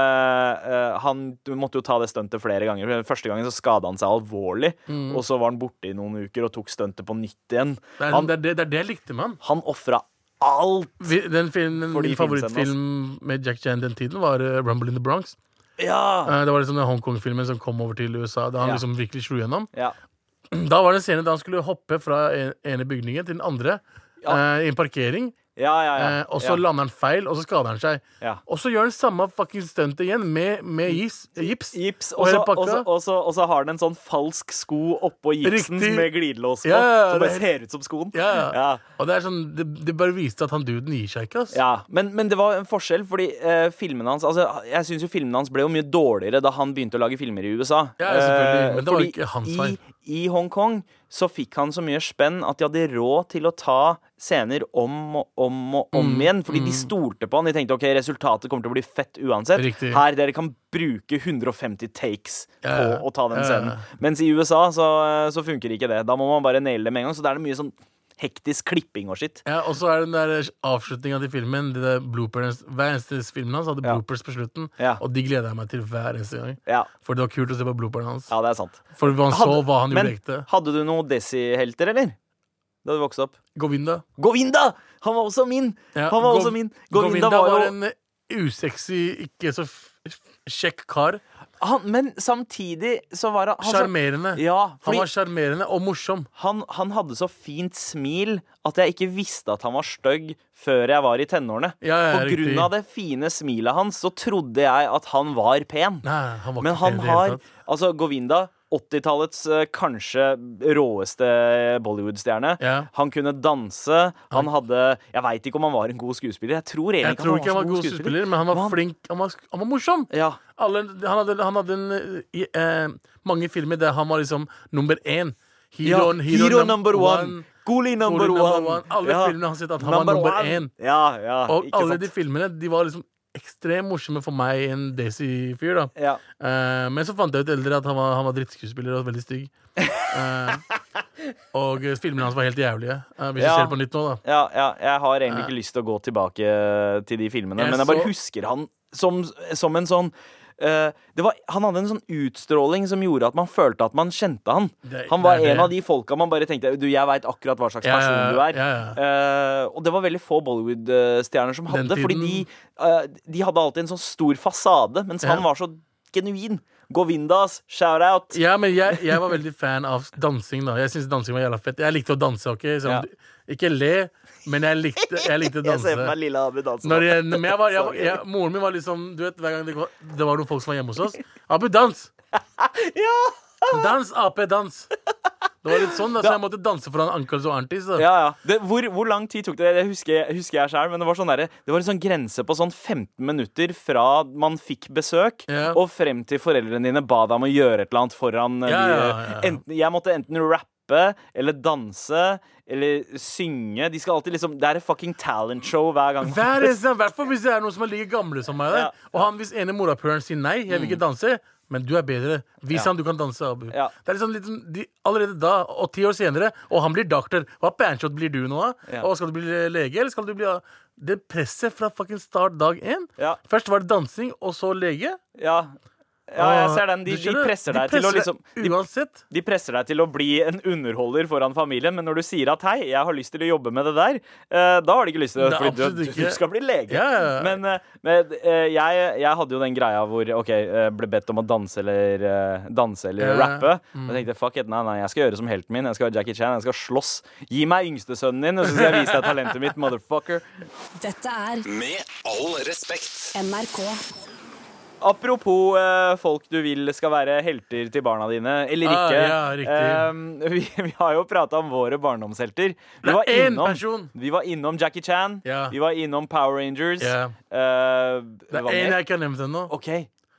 eh, han måtte jo ta det stuntet flere ganger. for den Første gangen så skada han seg alvorlig, og så var han borte i noen uker og tok stuntet på nytt igjen.
Mm. Det er
Han,
det, er det, det, er det jeg likte med han.
han ofra alt.
Vi- Den, filmen-
Fordi
min
filmscenen,
favorittfilm med Jack Chan den tiden var eh, Rumble in the Bronx.
Ja!
Eh, Det var liksom den Hongkong-filmen som kom over til USA, da han
Ja.
liksom virkelig slo gjennom.
ja.
Da var det en scene da han skulle hoppe fra en- ene bygningen til den andre
Ja.
eh, i en parkering.
Ja, ja, ja.
eh, og så
ja.
lander han feil, og så skader han seg.
Ja.
Og så gjør han samme fucking stunt igjen med, med gis, gips.
Gips, og
Og
så,
hele pakka.
og, så, og, så, og så har den en sånn falsk sko oppå gipsen
Riktig.
med glidelås på,
Ja, ja, ja,
som bare
det-
ser ut som skoen.
Ja, ja.
Ja.
Og det er sånn Det, det bare viste at han duden gir seg ikke, ass.
Ja, men, men det var en forskjell, fordi eh, filmene hans Altså, jeg syns jo filmene hans ble jo mye dårligere da han begynte å lage filmer i USA.
Ja, selvfølgelig,
Eh,
men det var
fordi
ikke hans
i,
feil.
i Hongkong så fikk han så mye spenn at de hadde råd til å ta scener om og om og
Mm,
om igjen, fordi de stolte på han. De tenkte ok, resultatet kommer til å bli fett uansett.
Riktig.
Her dere kan bruke 150 takes
Ja, ja.
på å ta den
Ja, ja,
scenen.
ja.
Mens i USA så, eh, så funker ikke det. Da må man bare naile det med en gang. Så da er det mye sånn hektisk klipping og skitt.
Ja, og så er den der avslutninga til filmen. Det der bloopers, hver eneste film hans hadde
Ja.
bloopers på slutten,
Ja.
og de gleder jeg meg til hver eneste gang.
Ja,
For det var kult å se på blooperne hans.
ja det er sant.
For man så hva han
men
gjorde ekte.
hadde du noen Desi-helter, eller? Da du vokste opp?
Govinda.
Govinda! Han var også min!
Ja,
han var
Gov-
også min. Govinda,
Govinda,
var jo
en usexy, ikke så f- f- kjekk kar.
han, Men samtidig så var han han så-
Sjarmerende.
Ja,
Han
fordi
var sjarmerende og morsom.
han, han hadde så fint smil at jeg ikke visste at han var stygg før jeg var i tenårene.
Ja, ja,
På grunn
riktig.
av det fine smilet hans så trodde jeg at han var pen.
Nei, han var
Men
ikke
han
pen i det hele
har
tatt.
Altså, Govinda, 80-tallets eh, kanskje råeste Bollywood-stjerne.
Ja.
Han kunne danse. Han hadde Jeg veit ikke om han var en god skuespiller. Jeg tror egentlig
Jeg tror ikke han var god skuespiller, men han var
Men han-
flink. Han var, han var morsom.
Ja,
Alle, han hadde, han hadde en, eh, i, eh, mange filmer der han var liksom nummer én.
ja.
Heroen-
Hero, number one. Goli number,
Goli number
one.
one. Alle filmene han har sett at han var number
one.
én.
Ja, ja,
Og
ikke
alle
sant.
de filmene de var liksom ekstremt morsomme for meg, en Daisy-fyr. da
Ja.
Eh, Men så fant jeg ut eldre at han var, han var drittskuespiller og veldig stygg. Eh, og eh, filmene hans var helt jævlige. Eh, hvis
Ja.
du ser på nytt nå, da.
Ja, ja, jeg har egentlig ikke lyst til å gå tilbake eh, til de filmene,
Jeg
men jeg bare
så-
husker han som, som en sånn eh, det var, han hadde en sånn utstråling som gjorde at man følte at man kjente han.
Det-
han var
det er
en
det.
av de folka man bare tenkte Du, jeg veit akkurat hva slags
Ja,
person du er.
ja, ja.
Eh, og det var veldig få Bollywood-stjerner som hadde det,
Den
fordi de,
tiden-
eh, de hadde alltid en sånn stor fasade, mens
Ja.
han var så genuin. Govindas, shout-out.
Ja, men jeg, jeg var veldig fan av dansing. da Jeg synes dansing var jævla fett. Jeg likte å danse. ok? Selv om
Ja.
du- Ikke le, men jeg likte, jeg likte
Jeg
å danse.
ser for meg sånn. lille Abu danse.
Når jeg, men jeg var, jeg, var- jeg, moren min var liksom Du vet, Hver gang det var, det var noen folk som var hjemme hos oss Abu, dans!
Ja!
Dans, Ap, dans! Det var litt sånn, da, så jeg måtte danse foran Ankles og Arntis. Da.
Ja, ja. Det, hvor, hvor lang tid tok det? Det husker jeg, husker jeg selv, men det var, sånn derre- det var en sånn grense på sånn 15 minutter fra man fikk besøk,
Ja.
og frem til foreldrene dine ba deg om å gjøre et eller annet foran eh,
Ja,
de,
ja, ja.
Enten, Jeg måtte enten rappe eller danse eller synge. De skal alltid liksom Det er et fucking talentshow hver gang.
Hver eneste gang, hvertfall hvis det er noen som er like gamle som meg.
Ja. Mm.
Da. Og han hvis ene morapuleren sier nei, jeg vil ikke danse, men du er bedre. Vis ham du kan danse, Abu.
Ja.
Det er liksom litt, sånn- de, allerede da, og ti år senere, og han blir doktor. Hva panshot blir du nå, da?
Ja.
Og skal du bli lege, eller skal du bli Det presset fra fucking start dag én.
Ja.
Først var det dansing, og så lege.
Ja. ja, jeg ser den. De,
Du
de
skjønner?
presser
De
deg til å
presser
liksom
deg
de,
Uansett.
de presser deg til å bli en underholder foran familien, men når du sier at 'hei, jeg har lyst til å jobbe med det der', eh, da har de ikke lyst til det,
Det er
fordi du,
absolutt
du
ikke-
skal bli lege.
Ja, ja, ja.
Men, eh, men eh, jeg, jeg hadde jo den greia hvor OK, eh, ble bedt om å danse eller, eh, danse eller
Ja, Mm. ja.
rappe. Og jeg tenkte fuck it, nei, nei, jeg skal gjøre som helten min. Jeg skal være Jackie Chan, jeg skal slåss. Gi meg yngstesønnen din, og så skal jeg vise deg talentet mitt, motherfucker.
Dette er
Med all respekt.
NRK.
Apropos eh, folk du vil skal være helter til barna dine, eller
Ah,
ikke.
ja, riktig.
Eh, vi, vi har jo prata om våre barndomshelter. Vi
Det
var,
er én
innom,
person.
vi var innom Jackie Chan.
Ja.
Vi var innom Power Rangers.
Ja.
Eh,
Det
hva
er en
mer?
jeg ikke har nevnt ennå.
OK,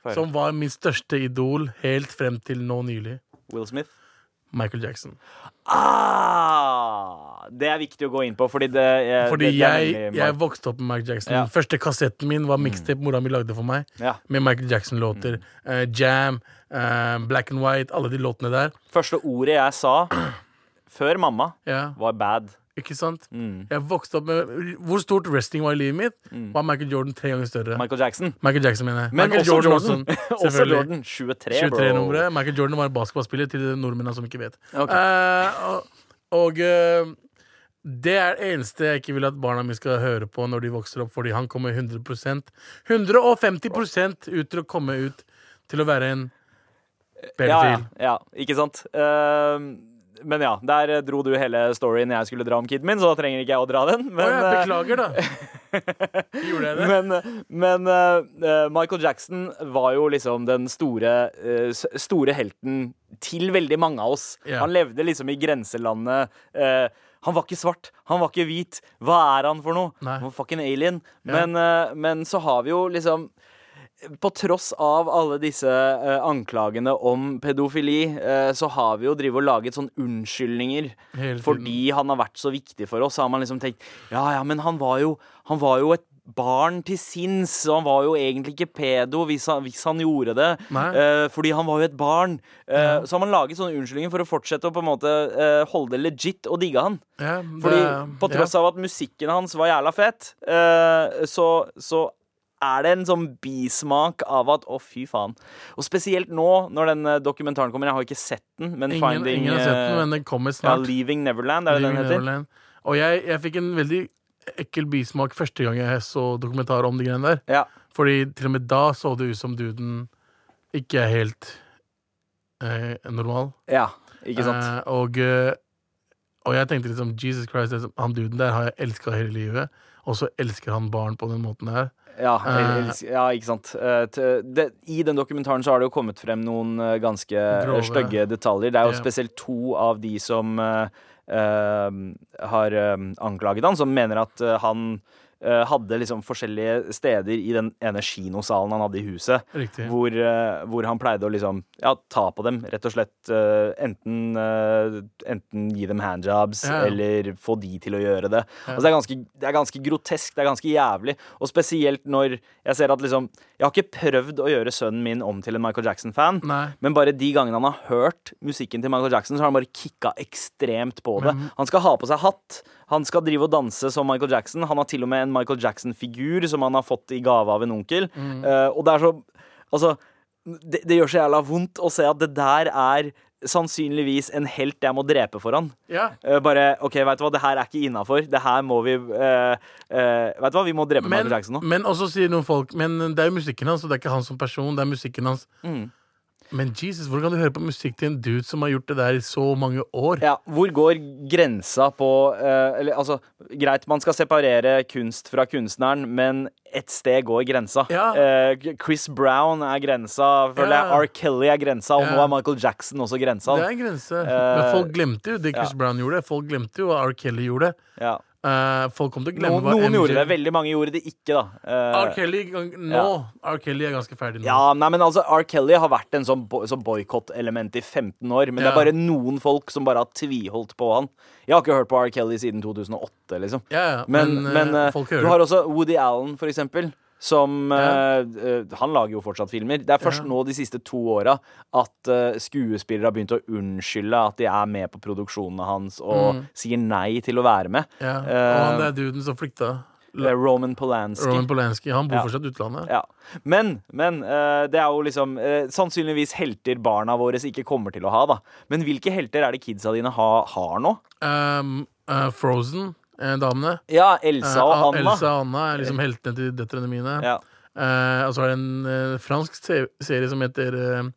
Få høre.
som var min største idol helt frem til nå nylig.
Will Smith.
Michael Jackson.
Ah, det er viktig å gå inn på, fordi det eh,
Fordi
det- det er
jeg,
veldig
jeg
mar-
vokste opp med Michael Jackson.
Ja.
Første kassetten min var mixtape mora mi lagde for meg,
ja. Mm.
med Michael Jackson-låter. eh, jam, eh, Black and White, alle de låtene der.
Første ordet jeg sa før mamma,
Ja,
var bad.
ikke sant?
Mm.
Jeg vokste opp med Hvor stort wrestling var i livet mitt? Var Michael Jordan tre ganger større.
Michael Jackson.
Michael Jackson, mener jeg.
Men
Michael
også Jordan.
også,
også
selvfølgelig.
Jordan. 23, bro.
23-nummeret. Michael Jordan var en basketballspiller til nordmennene som ikke vet.
Ok.
Eh, og og eh, det er det eneste jeg ikke vil at barna mine skal høre på når de vokser opp, fordi han kommer 100 150 ut til å komme ut til å være en
Ja, ja,
pedofil.
ja, ikke sant? Ehm, men ja, der dro du hele storyen jeg skulle dra om kiden min, så da trenger ikke jeg å dra den. Men,
Å ja,
eh,
beklager, da. Gjorde jeg det?
men, men eh, eh, Michael Jackson var jo liksom den store, eh, s- store helten til veldig mange av oss.
Ja.
Han levde liksom i grenselandet. eh, han var ikke svart, han var ikke hvit. Hva er han for noe?
Nei.
Han var fucking alien. Men, eh, men så har vi jo liksom på tross av alle disse eh, anklagene om pedofili, eh, så har vi jo drivet og laget sånn unnskyldninger.
Hele tiden.
Fordi han har vært så viktig for oss, så har man liksom tenkt Ja, ja, men han var jo, han var jo et barn til sinns, og han var jo egentlig ikke pedo hvis han, hvis han gjorde det.
Nei.
eh, fordi han var jo et barn. Eh, Så har man laget sånne unnskyldninger for å fortsette å på en måte eh, holde det legit og digge han.
Ja, eh,
Fordi på tross av at musikken hans var jævla fet, eh, så, så er det en sånn bismak av at å, fy faen. Og spesielt nå, når den eh, dokumentaren kommer. Jeg har ikke sett den, men
ingen,
Finding
ingen har sett den,
eh,
men den kommer
ja,
snart.
Leaving Neverland, er det den
Leaving
heter?
Neverland. Og jeg, jeg fikk en veldig ekkel bismak første gang jeg så dokumentar om de greiene der.
Ja.
Fordi til og med da så det ut som duden ikke er helt eh, normal.
ja. Ikke sant?
Eh, og, eh, og jeg tenkte liksom Jesus Christ, liksom, han duden der har jeg elska hele livet. Og så elsker han barn på den måten her.
ja,
eh,
jeg elsker- ja, ikke sant. Eh, t- det, I den dokumentaren så har det jo kommet frem noen eh, ganske eh,
Grove.
stygge detaljer. Det er jo
Ja.
spesielt to av de som eh, eh, har eh, anklaget han, som mener at eh, han eh, hadde liksom forskjellige steder i den ene kinosalen han hadde i huset.
Riktig.
Hvor, eh, hvor han pleide å liksom ja, ta på dem, rett og slett. eh, enten, eh, enten gi dem handjobs,
Ja, ja.
eller få de til å gjøre det. Altså, det, er ganske, det er ganske grotesk, det er ganske jævlig. Og spesielt når jeg ser at liksom Jeg har ikke prøvd å gjøre sønnen min om til en Michael Jackson-fan.
Nei.
Men bare de gangene han har hørt musikken til Michael Jackson, så har han bare kicka ekstremt på det. Han skal ha på seg hatt, han skal drive og danse som Michael Jackson. Han har til og med en Michael Jackson-figur som han har fått i gave av en onkel. Eh, og det er så Altså, det, det gjør så jævla vondt å se at det der er sannsynligvis en helt jeg må drepe for han.
Ja.
Eh, bare OK, vet du hva, det her er ikke innafor. Det her må vi eh, eh, Vet du hva, vi må drepe
Men,
Michael Jackson nå.
men også sier noen folk Men det er jo musikken hans, og det er ikke han som person. Det er musikken hans
Mm.
Men Jesus, hvordan kan du høre på musikk til en dude som har gjort det der i så mange år?
Ja, hvor går grensa på eh, eller, altså, Greit, man skal separere kunst fra kunstneren, men et sted går grensa.
Ja.
Eh, Chris Brown er grensa, føler
Ja.
jeg. R. Kelly er grensa, og
Ja.
nå er Michael Jackson også grensa.
Det er en grense.
Eh,
Men folk glemte jo det Chris Brown gjorde. Folk glemte jo hva R. Kelly gjorde.
Ja.
Eh, folk kom til å glemme
Noen,
hva
noen
MJ
gjorde det, veldig mange gjorde det ikke, da. Eh,
R. Kelly, gang- nå, R. Kelly er ganske ferdig nå.
Ja, nei, men altså, R. Kelly har vært en sånn bo sånn boikott-element i 15 år, men det
Ja.
er bare noen folk som bare har tviholdt på han. Jeg har ikke hørt på R. Kelly siden 2008, liksom.
Ja, ja,
Men,
men, eh,
men eh,
folk hører
du har også Woody Allen, for eksempel. Som
Ja.
eh, eh, Han lager jo fortsatt filmer. Det er først nå de siste to åra at eh, skuespillere har begynt å unnskylde at de er med på produksjonene hans, og sier nei til å være med.
Mm. ja. Og
Eh,
han der duden som flykta.
eh, Roman Polanski.
Roman Polanski. Han bor
Ja.
fortsatt i utlandet.
Ja. Men, men eh, det er jo liksom eh, sannsynligvis helter barna våre ikke kommer til å ha, da. Men hvilke helter er det kidsa dine ha, har nå?
Um, eh, Frozen, eh, damene.
Ja,
Eh,
Elsa og Anna.
Elsa og Anna er liksom heltene til døtrene mine.
Ja.
Eh, og så er det en eh, fransk se- serie som heter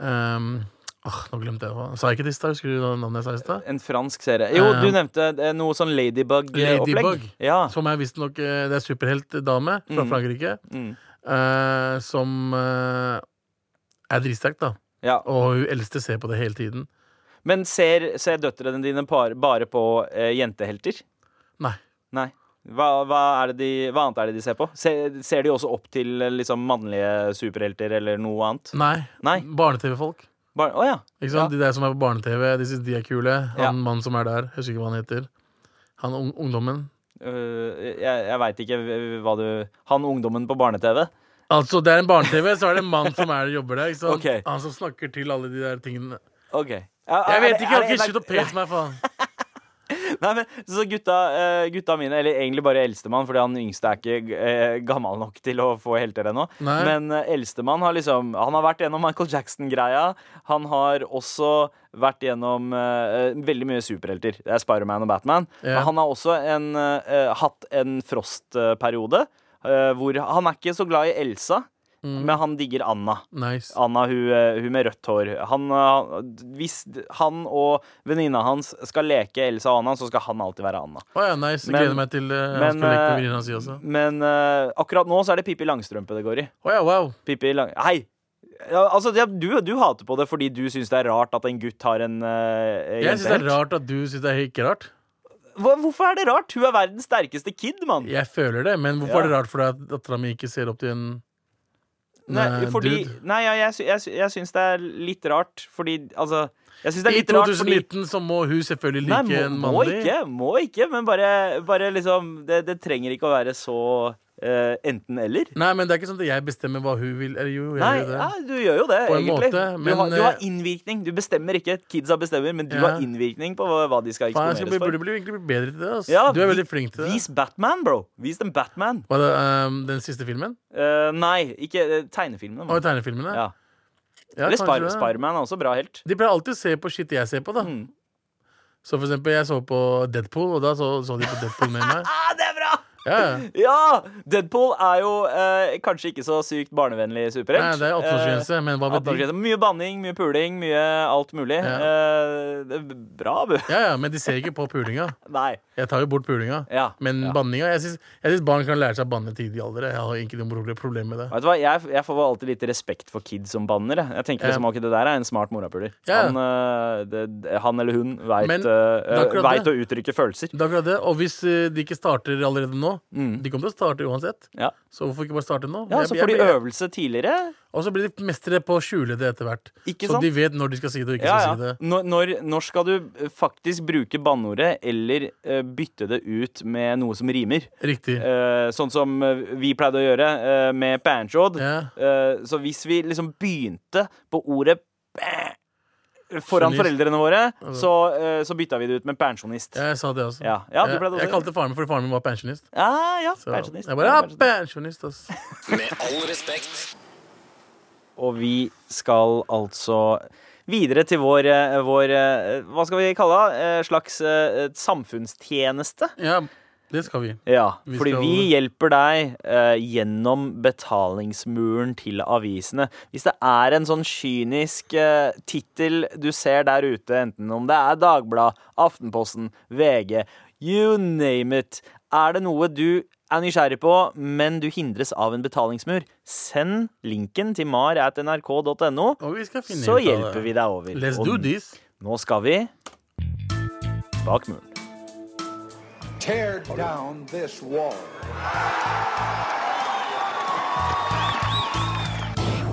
eh, um, Åh, Nå glemte jeg hva Psychedist, da, husker du navnet jeg sa i stad?
En fransk serie. Jo, du
Eh,
nevnte eh, noe sånn Ladybug-opplegg.
Ladybug.
Ja.
Som er visstnok eh, Det er superheltdame fra
Ah. Mm.
Frankrike
Mm.
eh, som eh, er dritsterk, da.
ja.
Og hun eldste ser på det hele tiden.
Men ser, ser døtrene dine par, bare på eh, jentehelter?
Nei.
Nei. Hva, hva, er det de, hva annet er det de ser på? Ser, ser de også opp til eh, liksom mannlige superhelter eller noe annet?
Nei.
Nei.
Barne-TV-folk.
Bare, å ja.
Mm. Ikke sant? De der som er på barne-TV, de syns de er kule. Han
Ja.
mannen som er der, jeg husker ikke hva han heter. Han ung ungdommen.
Øh, jeg jeg veit ikke hva du Han ungdommen på barne-TV?
Altså, det er en barne-TV, så er det en mann som er og jobber der. Ikke sant?
Ok.
Han som snakker til alle de der tingene.
OK. Jeg,
Jeg vet ikke, jeg har ikke slutt å pese meg, faen.
Nei, men så gutta, eh, gutta mine, eller egentlig bare eldstemann, fordi han yngste er ikke eh, gammel nok til å få helter ennå.
Nei.
Men eh, eldstemann har liksom Han har vært gjennom Michael Jackson-greia. Han har også vært gjennom eh, eh, veldig mye superhelter. Det er Spiderman og Batman.
Ja.
Men han har også en, eh, hatt en Frost-periode. eh, hvor Han er ikke så glad i Elsa,
Mm.
men han digger Anna.
Nice.
Anna, hun, eh, hun med rødt hår. Han, eh, hvis han og venninna hans skal leke Elsa og Anna, så skal han alltid være Anna.
Å ja, nice. Jeg
Men-
gleder meg til uh, han
men,
skal leke
eh,
med venninna si også.
Men eh, akkurat nå så er det Pippi Langstrømpe det går i.
Å ja, wow.
Pippi Lang... Hei! Ja, altså, det, du, du hater på det fordi du syns det er rart at en gutt har en eh,
Jeg syns det er
jentehelt.
rart at du syns det er ikke rart.
Hva, hvorfor er det rart? Hun er verdens sterkeste kid, mann.
Jeg føler det, men
Ja.
hvorfor er det rart for deg at dattera mi ikke ser opp til en
Nei,
Nei,
fordi,
dude.
nei ja, jeg, sy- jeg, sy- jeg syns det er litt rart fordi Altså, jeg syns det er
I
litt rart fordi
2019 så må hun selvfølgelig
Nei, må,
like en
må
mannlig.
ikke, må ikke, men bare, bare liksom det, det trenger ikke å være så eh, enten-eller.
Nei, men det er ikke sånn at jeg bestemmer hva hun vil. Eller jo, jeg
Nei, ah,
gjør det.
ja, du gjør jo det,
På en
egentlig.
måte,
du,
men,
har, du har
eh,
innvirkning. Du bestemmer ikke. Kidsa bestemmer, men du
Ja.
har innvirkning på hva, hva de skal
Faen, jeg skal
eksponeres
bli, burde
for.
bli, egentlig bli bedre til det. ass.
Ja,
du er
vi-
veldig flink til det.
Vis Batman, bro! Vis dem Batman.
Hva er det, ehm, den siste filmen?
Eh, nei, ikke eh, tegnefilmene.
Og
man.
tegnefilmene?
Ja.
Ja,
Eller
kanskje
Spar
det.
Spiderman er også bra helt.
De pleier alltid å se på shit jeg ser på, da.
Mm.
Så for eksempel, jeg så på Deadpool, og da så, så de på Deadpool med meg.
Ah, det er bra!
Ja, ja.
Ja! Deadpool er jo eh, kanskje ikke så sykt barnevennlig superhelt.
Nei, det er
Eh,
åtteårsgrense, men hva vet de?
18-årsgrense. Mye banning, mye puling, mye alt mulig.
Ja.
Eh, det er bra, bu.
Ja, ja, men de ser ikke på pulinga.
Nei.
Jeg tar jo bort pulinga.
Ja.
Men
ja.
banninga Jeg syns jeg syns barn kan lære seg å banne tidlig i alder. Jeg har ikke noe problem- problem med det.
Vet du hva, jeg, jeg får alltid litt respekt for kids som banner. Jeg, jeg tenker
Ja.
liksom, ok, Det der er en smart morapuler.
Ja.
Han, eh, det- det- han eller hun veit eh,
Men, det er akkurat det.
å uttrykke følelser.
Det er akkurat det. Og hvis eh, de ikke starter allerede nå
Mm.
De kommer til å starte uansett.
Ja.
Så hvorfor ikke bare starte nå?
ja,
Jeg-
Så
jeg-
får de
jeg-
øvelse tidligere.
Og så blir de mestere på å skjule det etter hvert.
Ikke
så
sant?
de vet når de skal si det og ikke
Ja,
skal si
ja.
det.
Når, når, når skal du faktisk bruke banneordet eller eh, bytte det ut med noe som rimer?
Riktig.
Eh, sånn som eh, vi pleide å gjøre eh, med banjod.
Ja.
Eh, så hvis vi liksom begynte på ordet bæ- foran
Pensjonist.
foreldrene våre,
Altså.
så, eh, så bytta vi det ut med pensjonist.
Jeg sa det også.
Ja. Ja, du ble det
jeg, jeg
også.
kalte faren min fordi faren min var pensjonist.
Ja, ja,
Så
pensjonist.
Jeg bare, ja,
Pensjonist.
pensjonist, ass.
Med all respekt.
Og vi skal altså videre til vår, eh, vår eh, Hva skal vi kalle det? Eh, Slags eh, samfunnstjeneste.
Ja, det skal vi.
Ja,
Vi
fordi
skal-
vi hjelper deg eh, gjennom betalingsmuren til avisene. Hvis det er en sånn kynisk eh, tittel du ser der ute, enten om det er Dagbladet, Aftenposten, VG, you name it, er det noe du er nysgjerrig på, men du hindres av en betalingsmur, send linken til mar.nrk.no,
Og vi skal finne
så
ut av det.
hjelper vi deg over.
Let's
Og
do this.
Nå skal vi bak muren.
Tear down this wall.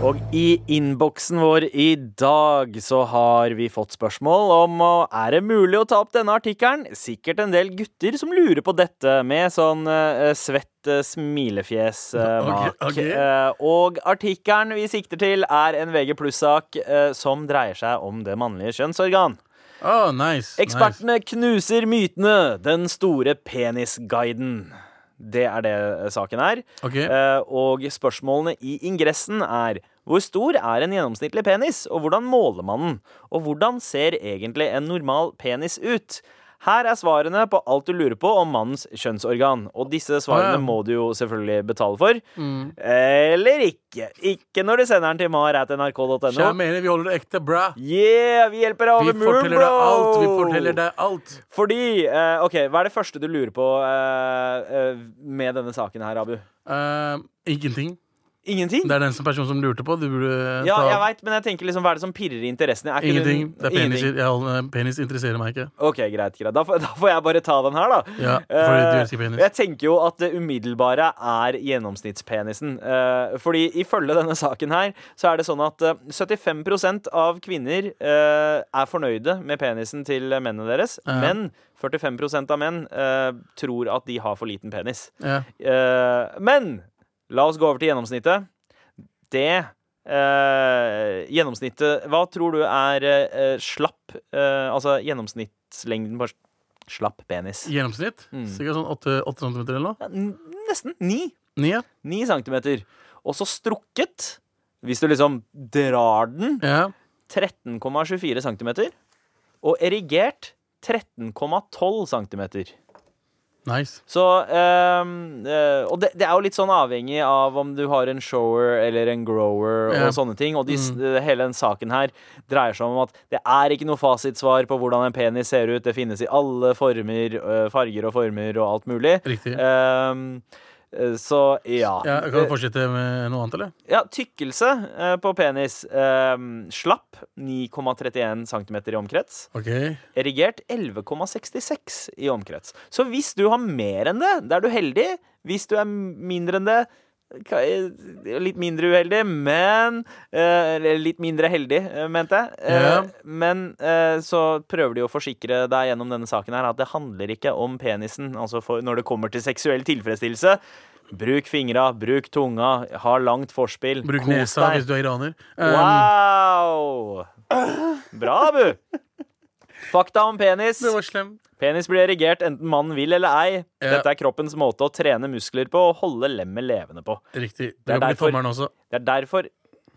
Og i innboksen vår i dag så har vi fått spørsmål om å- er det mulig å ta opp denne artikkelen. Sikkert en del gutter som lurer på dette, med sånn eh, svett eh, smilefjes eh, bak.
Ok, ok.
Eh, og artikkelen vi sikter til, er en VG pluss-sak eh, som dreier seg om det mannlige kjønnsorgan.
Oh, nice. nice.
Ekspertene knuser mytene. Den store penisguiden. Det er det eh, saken er.
Ok.
Eh, og spørsmålene i ingressen er hvor stor er en gjennomsnittlig penis, og hvordan måler man den? Og hvordan ser egentlig en normal penis ut? Her er svarene på alt du lurer på om mannens kjønnsorgan. Og disse svarene
Ah, Ja. Mm.
må du jo selvfølgelig betale for. Eller ikke. Ikke når du sender den til
Så jeg
mar.nrk.no.
mener vi holder det ekte, bra.
Yeah, vi hjelper deg
Vi
over muren, bro!
forteller deg alt. Vi forteller deg alt.
Fordi eh, OK, hva er det første du lurer på eh, eh, med denne saken her, Abu?
Eh, ingenting.
Ingenting?
Det er den som personen som lurte på. Du burde eh,
Ja,
ta
jeg veit, men jeg tenker liksom, hva er det som pirrer i interessene? Er ikke
Ingenting.
den-
Det er penis, jeg, holder- penis interesserer meg ikke.
Ok, greit, greit. Da får, da får jeg bare ta den her, da.
Ja, fordi du
Eh,
elsker penis.
jeg tenker jo at det umiddelbare er gjennomsnittspenisen. Eh, fordi ifølge denne saken her, så er det sånn at eh, 75 av kvinner eh, er fornøyde med penisen til mennene deres,
Ja.
men 45 av menn eh, tror at de har for liten penis.
Ja.
Eh, men la oss gå over til gjennomsnittet. Det eh, Gjennomsnittet Hva tror du er eh, slapp eh, Altså gjennomsnittslengden på slapp penis?
Gjennomsnitt?
Mm.
Sikkert sånn 8, cm eller noe?
Ja, n- Nesten ni.
Ni, ja.
Ni centimeter. Og så strukket, hvis du liksom drar den,
ja.
13,24 centimeter. Og erigert 13,12 centimeter.
Nice.
Så ehm, eh, Og det, det er jo litt sånn avhengig av om du har en shower eller en grower
Ja. Mm.
og sånne ting. Og de, s- eh, hele den saken her dreier seg om at det er ikke noe fasitsvar på hvordan en penis ser ut. Det finnes i alle former, eh, farger og former og alt mulig.
Riktig.
Ehm, eh, så ja.
Ja, kan du fortsette med noe annet, eller?
Ja, tykkelse eh, på penis. Ehm, slapp 9,31 cm i omkrets.
OK.
Erigert 11,66 i omkrets. Så hvis du har mer enn det, da er du heldig. Hvis du er mindre enn det, ka- eh, litt mindre uheldig, men eh, Eller litt mindre heldig, eh, mente jeg. Eh,
Ja.
Men eh, så prøver de å forsikre deg gjennom denne saken her at det handler ikke om penisen. Altså for når det kommer til seksuell tilfredsstillelse. Bruk fingra, bruk tunga, ha langt forspill.
Bruk
kos
nesa
deg.
hvis du er iraner. Um,
Wow! Bra, Abu! Fakta om penis.
Det var slem.
Penis blir erigert enten mannen vil eller ei.
Ja.
Dette er kroppens måte å trene muskler på og holde lemmet levende på.
Riktig.
Det
Det
er
blir
derfor-
tommeren også.
Det er derfor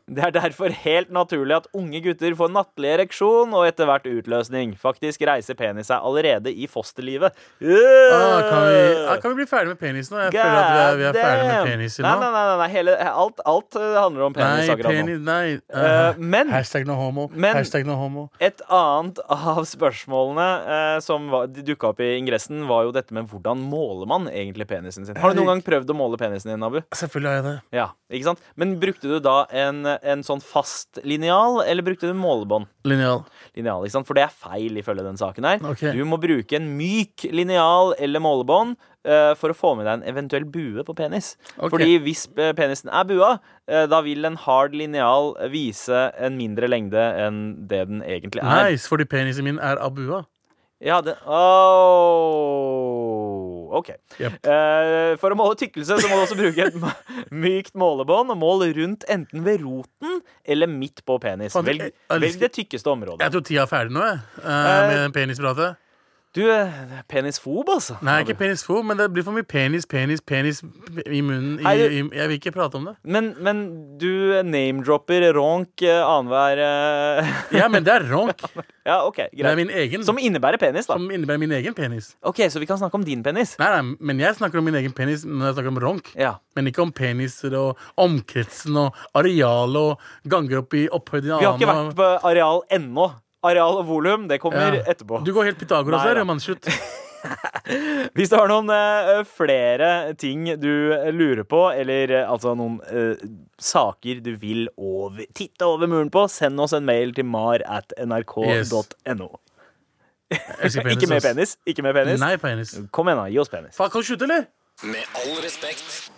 det er derfor helt naturlig at unge gutter får nattlig ereksjon og etter hvert utløsning. Faktisk reiser penis seg allerede i fosterlivet.
Ah, kan, vi, ah, kan vi bli ferdig med penisen nå? Jeg føler at vi er, vi er ferdig med penis i
nå. Nei,
nå.
nei, nei, nei. Hele, alt, alt eh, handler om penis
Nei,
akkurat nå.
penis, nei.
Eh,
Eh,
men
hashtag no homo.
men-
hashtag no homo.
Et annet av spørsmålene eh, som var- de dukka opp i ingressen, var jo dette med hvordan måler man egentlig penisen sin. Har du noen gang prøvd å måle penisen din, Abu?
Selvfølgelig har jeg det.
Ja, ikke sant? Men brukte du da en, en sånn fast lineal, eller brukte du målebånd?
Linjal.
Lineal, ikke sant? For det er feil ifølge den saken her.
Ok.
Du må bruke en myk lineal eller målebånd eh, for å få med deg en eventuell bue på penis.
Ok.
Fordi hvis eh, penisen er bua, eh, da vil en hard lineal vise en mindre lengde enn det den egentlig er.
Nice, fordi penisen min er abua.
Ja, det Åh, OK.
Jep.
Eh, for å måle tykkelse så må du også bruke et ma- mykt målebånd. og Mål rundt enten ved roten eller midt på penis.
Faen,
Velg,
jeg- jeg
velg
elsker-
det tykkeste området.
Jeg tror tida er ferdig nå, jeg.
Eh,
eh, med penispratet.
Du er penisfob, altså.
Nei, ikke penisfo, men det blir for mye penis, penis, penis i munnen. I,
Nei, du-
i, jeg vil ikke prate om det.
Men, men du eh, name-dropper ronk eh, annenhver eh,
Ja, men det er ronk.
Ja, OK,
Det er
greit.
min egen,
Som
som,
innebærer penis, da.
innebærer min egen penis.
OK, så vi kan snakke om din penis.
Nei, nei, men jeg snakker om min egen penis når jeg snakker om ronk.
Ja.
Men ikke om peniser og omkretsen og arealet og ganger opp i opphøyd i
Vi har ikke
armen.
vært på areal ennå. Areal og volum, det kommer
Ja.
etterpå.
Du går helt Pythagoras
Nei,
her,
da.
ja, mann. Slutt.
Hvis du har noen eh, flere ting du eh, lurer på, eller eh, altså noen eh, saker du vil over, titte over muren på, send oss en mail til mar at nrk.no.
Jeg elsker
Ikke med
ass.
penis. Ikke med penis.
Nei, penis.
Kom igjen, da. Gi oss penis.
Faen, kan du slutte, eller?
Med all respekt.